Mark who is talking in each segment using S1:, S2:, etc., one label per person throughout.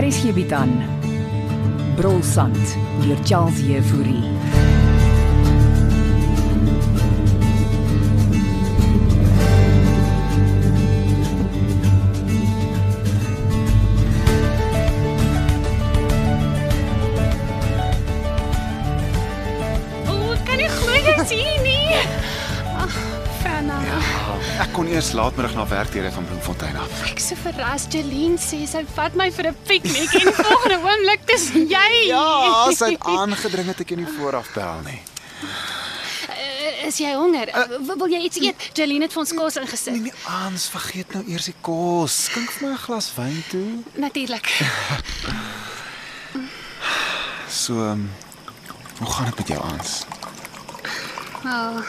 S1: Hier is hierby dan. Brolsand deur Charles Jefouri.
S2: O, ek kan nie glo jy sien nie. Ag, Fanna.
S3: Ja. Ek kon eers laatmiddag na werk deur van Bloemfontein af.
S2: Ek is so verras Jeline sê sy vat my vir 'n piknik en volgende oomblik dis jy.
S3: Ja, sy het aangedring dat ek jou nie vooraf bel nie.
S2: Eh, Is jy honger? W- Wil jy iets eet? Jeline het vir ons kos ingesit.
S3: Nee, Ans, vergeet nou eers die kos. Skink vir my 'n glas wyn toe.
S2: Natuurlik.
S3: So, ehm, hoe gaan dit met jou, Ans?
S2: Wel. Ah,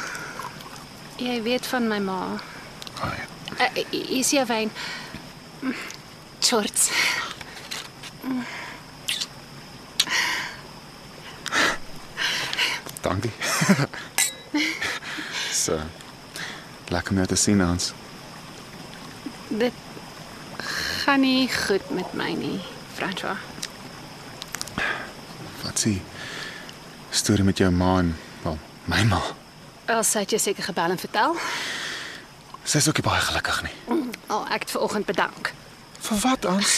S2: Jy weet van my ma.
S3: Oh, ja.
S2: Eh, Hier is jou wyn. Mm, Shorts.
S3: Dankie. so. Lekker om jou te sien, Ans.
S2: Dit gaan nie goed met my nie, François.
S3: Wat sê? Storie met jou ma en wel, my ma.
S2: Elsa het jou seker gebel en vertel.
S3: Sy's ook nie baie gelukkig nie.
S2: Al ek het ver oggend bedank.
S3: Vir wat, Ans?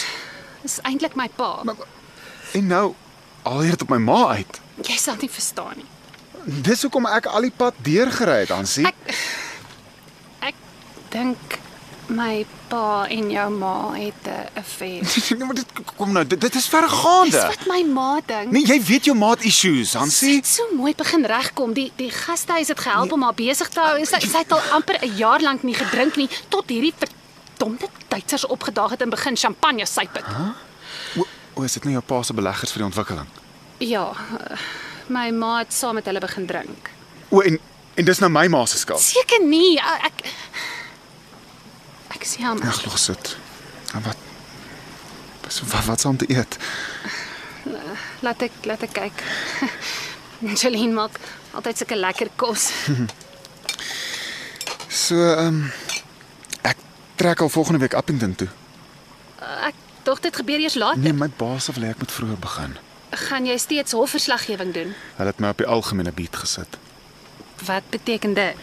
S2: Dis eintlik my pa.
S3: Maar- En nou al hier op my ma uit.
S2: Jy sal nie verstaan nie.
S3: Dis hoekom ek al die pad deurgery het, Ansie.
S2: Ek ek dink my pa en jou ma het 'n affair.
S3: nee, maar dit kom nou, dit, dit is
S2: Dis
S3: vergaande.
S2: wat my ma dink.
S3: Nee, jy weet jou maat issues,
S2: Sy
S3: Hansie.
S2: het so mooi begin regkom. Die die gastehuis het gehelp om haar besig te hou. Sy sy het al amper 'n jaar lank nie gedrink nie tot hierdie verdomde Duitsers opgedaag het en begin champagne suip het.
S3: O, o, is dit nie jou pa se beleggers vir die ontwikkeling?
S2: Ja, eh, my ma het saam met hulle begin drink.
S3: O, en en dis nou my ma se skuld.
S2: Seker nie. eh, Ek ek sê hom.
S3: Ag, los dit. En wat Wat wat, wat om te eet?
S2: Laat ek laat ek kyk. Jolene maak altyd sulke lekker kos.
S3: So, ehm um, ek trek al volgende week Appington toe.
S2: Ek dink dit gebeur eers later.
S3: Nee, my baas sê ek moet vroeër begin.
S2: Gaan jy steeds hofverslaggewing doen?
S3: Hulle het my op die algemene beat gesit
S2: Wat beteken dit?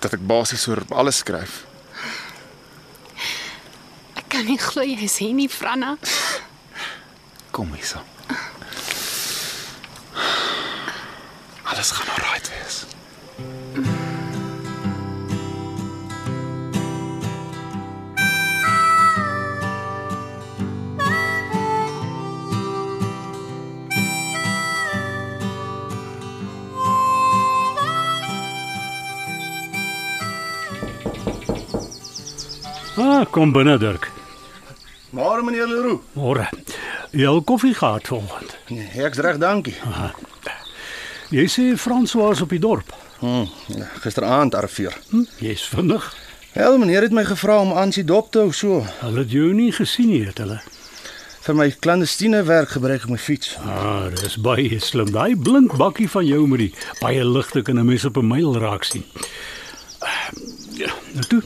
S3: dat ek basies oor alles skryf.
S2: Ek kan nie glo jy is hier nie, Franna.
S3: Kom hier so. Alles gaan alright wees.
S4: Ah, kom binne Dirk.
S5: Maar meneer Leroux,
S4: Môre. Jy het al koffie gehad vanoggend.
S5: nee, ek's reg, dankie.
S4: Jy sê François is op die dorp.
S5: Hm, ja, gisteraand arriveer.
S4: Hm? Jy's vinnig.
S5: Wel, meneer het my gevra om Ansie dop te hou so.
S4: Hulle het jou nie gesien nie, het hulle.
S5: Vir my clandestine werk gebruik ek my fiets.
S4: Ah, dis baie slim. Daai blink bakkie van jou met die baie ligte kan 'n mens op 'n myl raak sien. Ah, Ja, nou toe.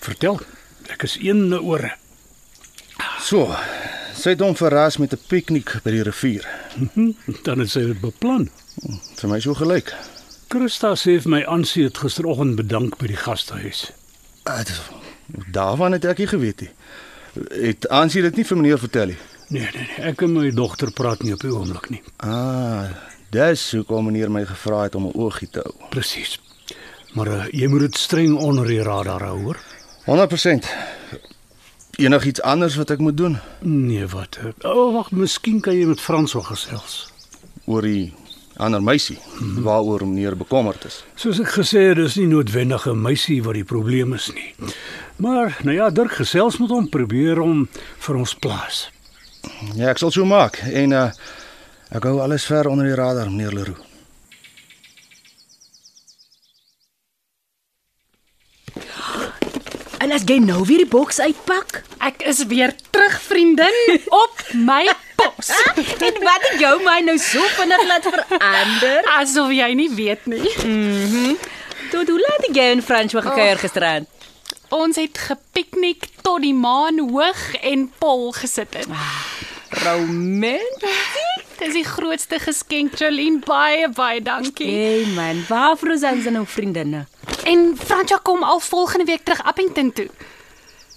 S4: Vertel. Ek is een oor.
S5: So, sy het hom verras met 'n piknik by die rivier.
S4: Hm, Dan het sy dit beplan.
S5: Vir my so gelyk.
S4: Christa sê vir my Ansie het gisteroggend bedank by die gastehuis.
S5: Ah, dis- Daarvan het ek nie geweet nie. Het Ansie dit nie vir meneer vertel nie.
S4: Nee, nee, nee, ek en my dogter praat nie op die oomblik nie.
S5: Ah, dis hoekom meneer my gevra het om 'n oogie te hou.
S4: Presies. Maar uh, jy moet dit streng onder die radar hou, hoor.
S5: 100%. Enigiets anders wat ek moet doen
S4: Nee, wat? eh, O, oh, wag, miskien kan jy met Frans wel gesels.
S5: oor die ander meisie waaroor meneer bekommerd is.
S4: Soos ek gesê het, dis nie noodwendig 'n meisie wat die probleem is nie. Maar nou ja, Dirk gesels met hom, probeer hom vir ons plaas.
S5: Ja, ek sal so maak en uh ek hou alles ver onder die radar, meneer Leroux.
S6: En Wel as jy nou weer die boks uitpak
S2: Ek is weer terug, vriendin, op my pos.
S6: en wat het jou my nou so vinnig laat verander?
S2: Asof jy nie weet nie.
S6: Tot hoe laat het jy in Franswa gekuier gisteraan?
S2: Ons het gepiknik tot die maan hoog en pol gesit het.
S6: Romant.
S2: Dis die grootste geskenk, Jolene. Baie baie dankie.
S6: Hey man, waarvoor is ons dan nou vriendinne?
S2: En Fransja kom al volgende week terug Appington toe.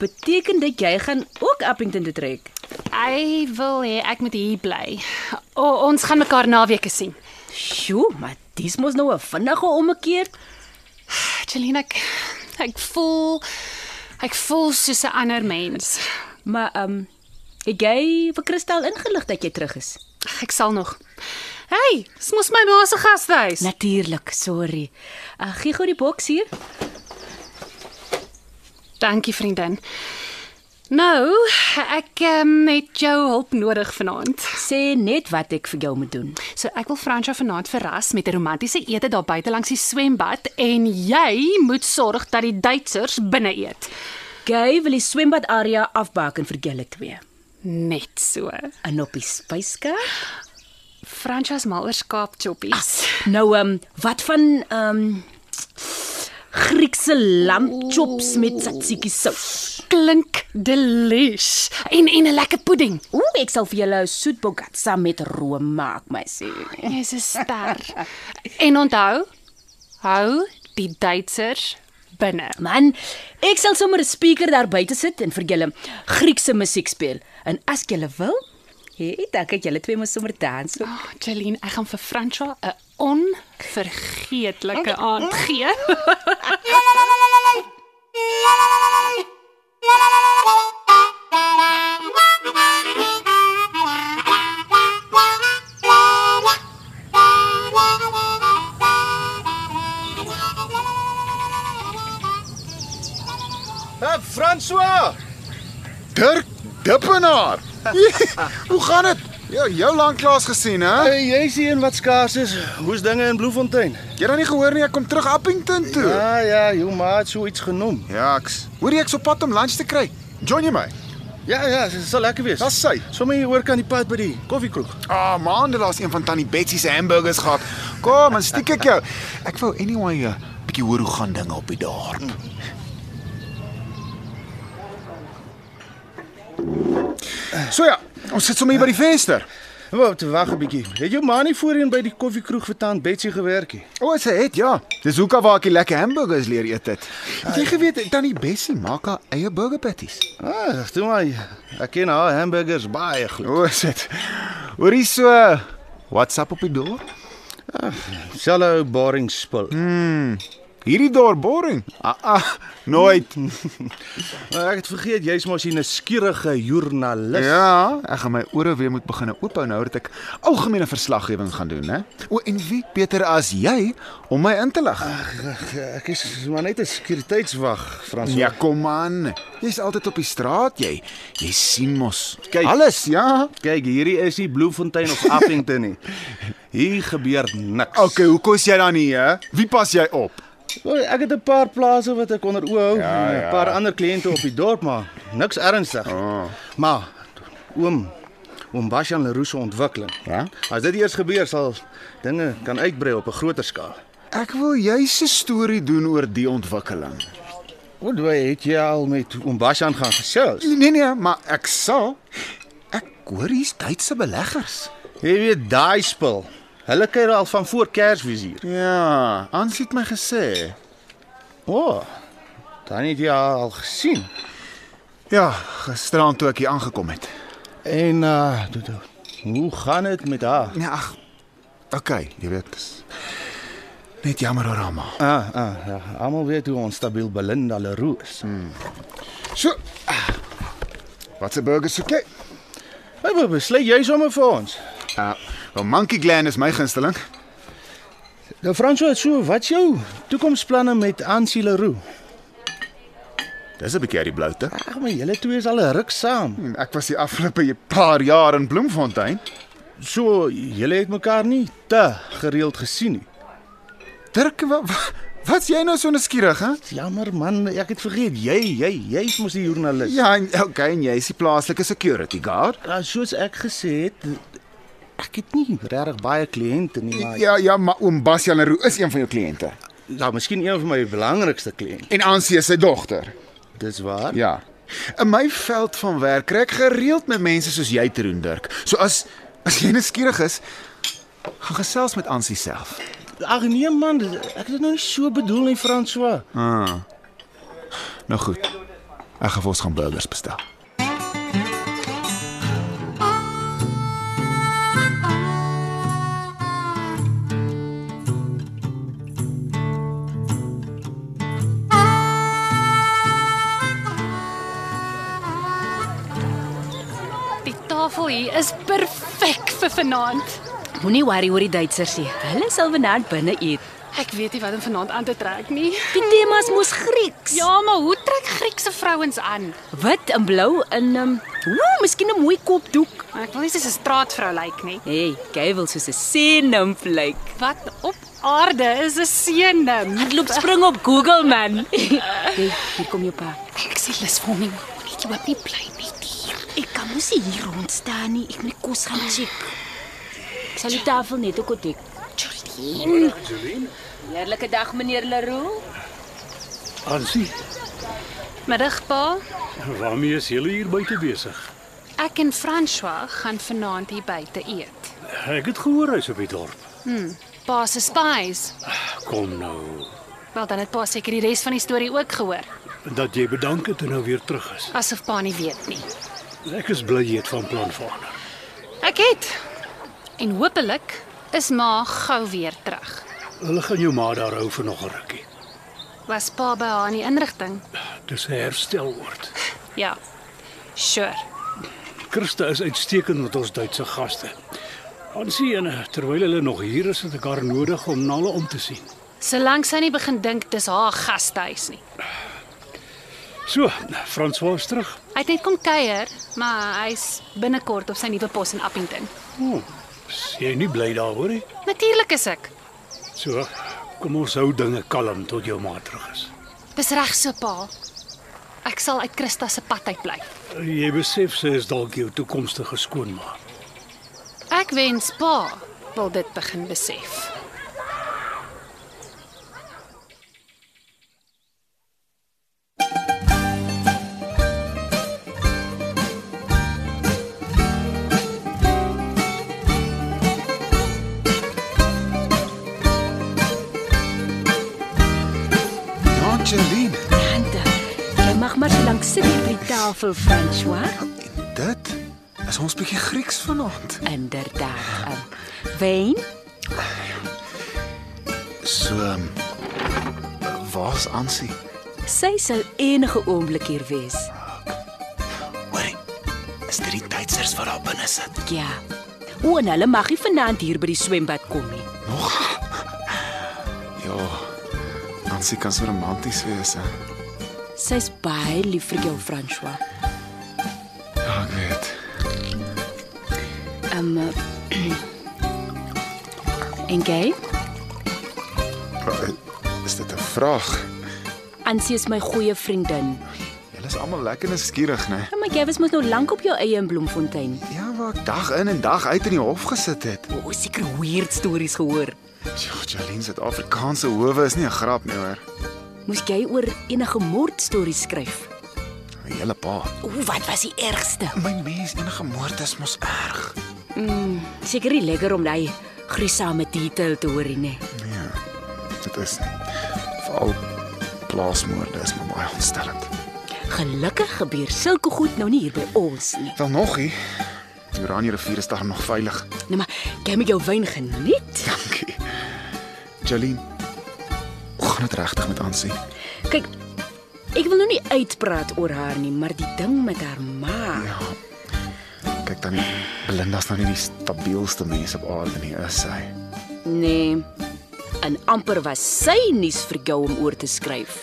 S6: Beteken dit jy gaan ook Appington toe trek?
S2: Hy wil hê ek moet hier bly. O, ons gaan mekaar naweke sien.
S6: Sjoe, maar dis mos nou 'n vinnige ommekeer.
S2: Jolene, ek ek voel ek voel soos 'n ander mens.
S6: Maar ehm um, het jy vir Kristal ingelig dat jy terug is?
S2: Ek sal nog. Hey, dis mos my ma se gastehuis.
S6: Natuurlik, sorry. Uh, gee gou die boks hier.
S2: Dankie vriendin. Nou, ek um, het jou hulp nodig vanaand.
S6: Sê net wat ek vir jou moet doen.
S2: So ek wil Fransja vanaand verras met 'n romantiese ete daar buite langs die swembad en jy moet sorg dat die Duitsers binne eet.
S6: Jy wil die swembad area afbaken vir julle twee.
S2: Net so.
S6: En op die spyskaart?
S2: Fransja se mal oor skaapchoppies.
S6: Nou ehm um, wat van ehm um, Griekse lampchops met tzatziki sous.
S2: Klink delish. En en 'n lekker pudding.
S6: Ooh, ek sal vir julle 'n soet bogatsa met room maak, my sê.
S2: Jy's 'n ster. en onthou, hou die Duitsers binne.
S6: Man, ek sal sommer 'n speaker daar buite sit en vir julle Griekse musiek speel. En as julle wil, hé, dan kan julle twee mos sommer dans.
S2: Oh, Jeline, ek gaan vir Fransja 'n onvergeetlike aand gee.
S5: Ah, François.
S3: Dirk Dippenaar. Hoe gaan dit? Ja, jou lank klaas gesien, hè?
S5: Ah. Hey, jy's die een wat skaars is. Hoe's dinge in Bloemfontein?
S3: Jy het dan nie gehoor nie, ek kom terug Appington toe.
S5: Ja, ja, jou ma het so iets genoem.
S3: Ja, ek's. Hoor jy ek's op pad om lunch te kry? Join jy my?
S5: Ja, ja, dit sal lekker wees.
S3: Dis sy.
S5: Sommige hier oor kan die pad by die koffiekroeg.
S3: Ah, maande laas een van tannie Betsy se hamburgers gehad. Kom, dan stiek ek jou. Ek wou anyway 'n bietjie hoor hoe gaan dinge op die dorp.
S5: Mm.
S3: So ja, ons sit sommer hier by die venster.
S5: Wou, te wag 'n bietjie. Het jou ma nie voorheen by die koffiekroeg vir tant Betsy gewerk nie?
S3: O, sy het ja. Dis hoeka waar ek die lekker hamburgers leer eet het. Het jy geweet tannie Betsy maak haar eie burger patties?
S5: Ah, toe maar. Ek ken haar hamburgers baie goed.
S3: O, sit. Hoor hier so. What's up op die dorp?
S5: Selfde boring spul.
S3: Hierdie dorp boring. Ah, ah nooit.
S5: Mm, Maar Ek het vergeet jy's mos hier 'n skierige joernalis.
S3: Ja, ek gaan my ore weer moet begin oophou nou dat ek algemene verslaggewing gaan doen, hè. O, en wie beter as jy om my in te lig?
S5: Ah, Ag, Ek is maar net 'n sekuriteitswag, Frans.
S3: Ja, kom aan. Jy's altyd op die straat, jy. Jy sien mos.
S5: Kyk.
S3: Alles, ja.
S5: Kyk, hierdie is nie Bloemfontein of Appington nie. Hier gebeur niks.
S3: Okay, hoe kos jy dan nie, hè? Wie pas jy op?
S5: Wel, Ek het 'n paar plase wat ek onder oë hou,
S3: Ja,
S5: en 'n
S3: ja.
S5: paar ander kliënte op die dorp, maar niks ernstig.
S3: Ah.
S5: Maar oom oom Bashan Leroux se ontwikkeling.
S3: Ja?
S5: As dit eers gebeur sal dinge kan uitbrei op 'n groter skaal.
S3: Ek wil jy se storie doen oor die ontwikkeling.
S5: Wat jy het jy al met oom Bashan gaan gesels?
S3: Nee nee, maar ek sal ek hoor hier's Duitse beleggers.
S5: Jy weet daai spul. Hulle kuier al van voor Kersfees hier.
S3: Ja, Ans het my gesê.
S5: O. Oh, dan het jy haar al gesien.
S3: Ja, gisteraan toe ek hier aangekom het.
S5: En uh do- do- hoe gaan dit met haar?
S3: Nee, ag. Okay, jy weet. dis Net jammer oor hom.
S5: Ah, ah, ja, almal weet hoe onstabiel Belinda Leroux is. Hmm.
S3: So. Wat 'n burger soek jy?
S5: Hey, besluit jy sommer vir ons.
S3: Uh, well, Monkey Glen is my gunsteling.
S5: Nou François, so wat jou toekomsplanne met Ansie Leroux?
S3: Dis 'n bietjie uit die bloute.
S5: Ag, maar julle twee is al 'n ruk saam.
S3: Ek was die afgelope paar jaar in Bloemfontein.
S5: So julle het mekaar nie te gereeld gesien nie.
S3: Dirk, wat, Wat's jy nou so nuuskierig, hè?
S5: Jammer man, ek het vergeet. Jy, jy, jy's mos die joernalis.
S3: Ja, en- okay, en jy is die plaaslike security guard.
S5: Ja, soos ek gesê het, ek het nie regtig baie kliënte nie, maar ja,
S3: Ja, ja, maar oom Bas Janaroo is een van jou kliënte.
S5: nou, miskien een van my belangrikste kliënte.
S3: En Ansie is sy dogter.
S5: Dis waar.
S3: Ja. In my veld van werk kry ek gereeld met mense soos jy te doen, Dirk. So as as jy nuuskierig is, gaan gesels met Ansie self.
S5: Ag nee man, dit- ek het dit nou nie so bedoel nie, François.
S3: Nou goed. Ek gaan vir ons gaan burgers bestel.
S2: Die tafel hier is perfek vir vanaand.
S6: Moenie worry oor die Duitsers nie. Hulle sal vanaand binne eet.
S2: Ek weet nie wat om vanaand aan te trek nie.
S6: Die tema's mos Grieks.
S2: Ja, maar hoe trek Griekse vrouens aan?
S6: Wit en blou en ehm um, ooh, miskien 'n mooi kopdoek.
S2: Ek wil nie soos 'n straatvrou lyk nie.
S6: Hey, jy wil soos 'n seennimf lyk.
S2: Wat op aarde is 'n seëning?
S6: Hardloop spring op Google man. hey, hier kom jou pa.
S2: Ek sê lus vir hom nie. Ek loop nie bly nie hier.
S6: Ek kan mos nie hier rond staan nie. Ek moet die kos gaan check. Ek sal die tafel net ook ontdek. Jolien. Heerlike dag meneer Leroux.
S4: Ansie,
S2: Middag pa.
S4: waarmee is julle hier buite besig?
S2: Ek en François gaan vanaand hier buite eet.
S4: Ek het gehoor hy's op die dorp.
S2: Pa se spies.
S4: Kom nou,
S2: Wel dan het pa seker die res van die storie ook gehoor,
S4: dat jy bedank het en nou weer terug is.
S2: asof pa nie weet nie.
S4: Ek is bly jy het van plan verander.
S2: Ek het. En hopelik is ma gou weer terug.
S4: Hulle gaan jou ma daar hou vir nog 'n rukkie.
S2: Was pa by haar in die inrigting?
S4: Dis 'n herstelwoord.
S2: Ja. Sure.
S4: Christa is uitstekend met ons Duitse gaste. Ansie en eh, terwyl hulle nog hier is, het ek haar nodig om na hulle om te sien.
S2: Solank sy nie begin dink dis haar gastehuis nie.
S4: So, François is terug.
S2: Hy het net kom kuier, maar hy's binnekort op sy nuwe pos in Appington.
S4: O, is jy nie bly daaroor nie?
S2: Natuurlik is ek.
S4: So, kom ons hou dinge kalm tot jou ma terug is.
S2: Dis reg so pa. Ek sal uit Christa se pad uit bly.
S4: Eh, Jy besef sy is dalk jou toekomstige skoonma.
S2: Ek wens pa wil dit begin besef.
S3: Ja, Angelien,
S6: Tante, jy mag maar so lank sit hier by die tafel François.
S3: dit is ons bietjie Grieks vanaand.
S6: Inderdaad. Um, wyn?
S3: So ehm, waar's Ansie?
S6: Sy sal enige oomblik hier wees.
S3: Hoorie. Is dit die tydsers wat daar binne sit?
S6: Ja. O, en hulle mag nie vanaand hier by die swembad kom nie.
S3: Ja. Ansie kan so romanties wees, hè.
S6: Sy's baie lief vir jou, François.
S3: Ja, ek weet.
S6: Um uh, En jy?
S3: Is dit 'n vraag?
S6: Ansie is my goeie vriendin.
S3: Julle is almal lekker nuuskierig, né?
S6: Ja, maar jy was mos nou lank op jou eie in Bloemfontein.
S3: Ja, waar ek dag in en dag uit in die hof gesit het.
S6: O, seker weird stories gehoor.
S3: Ja, Jolene, Suid-Afrikaanse howe is nie 'n grap nie, hoor.
S6: Moes jy oor enige moord stories skryf?
S3: Julle pa.
S6: O, wat was die ergste?
S3: My mens, enige moord is mos erg.
S6: Seker nie lekker om daai gruisame detail te hoor nie.
S3: Nee. Dit is nie. Veral plaasmoorde is maar baie ontstellend.
S6: Gelukkig gebeur sulke goed nou nie hier by ons nie.
S3: Wel nog nie. Die Oranje rivier is daar nog veilig.
S6: Nou maar, jy moet jou wyn geniet.
S3: Dankie. Jolene. Hoe gaan dit regtig met Ansie?
S6: Kyk, ek wil nou nie uitpraat oor haar nie, maar die ding met haar ma.
S3: Ja. Kyk dan, Belinda's nou nie die stabielste mens op aarde nie, is sy.
S6: Nee. En amper was sy nuus vir jou om oor te skryf.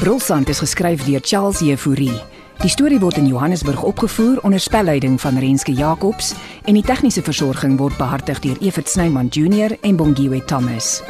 S1: Brolsand is geskryf deur Charles Jefouri Die storie word in Johannesburg opgevoer onder spelleiding van Renske Jacobs en die tegniese versorging word behartig deur Evert Snyman Junior en Bongwe Thomas.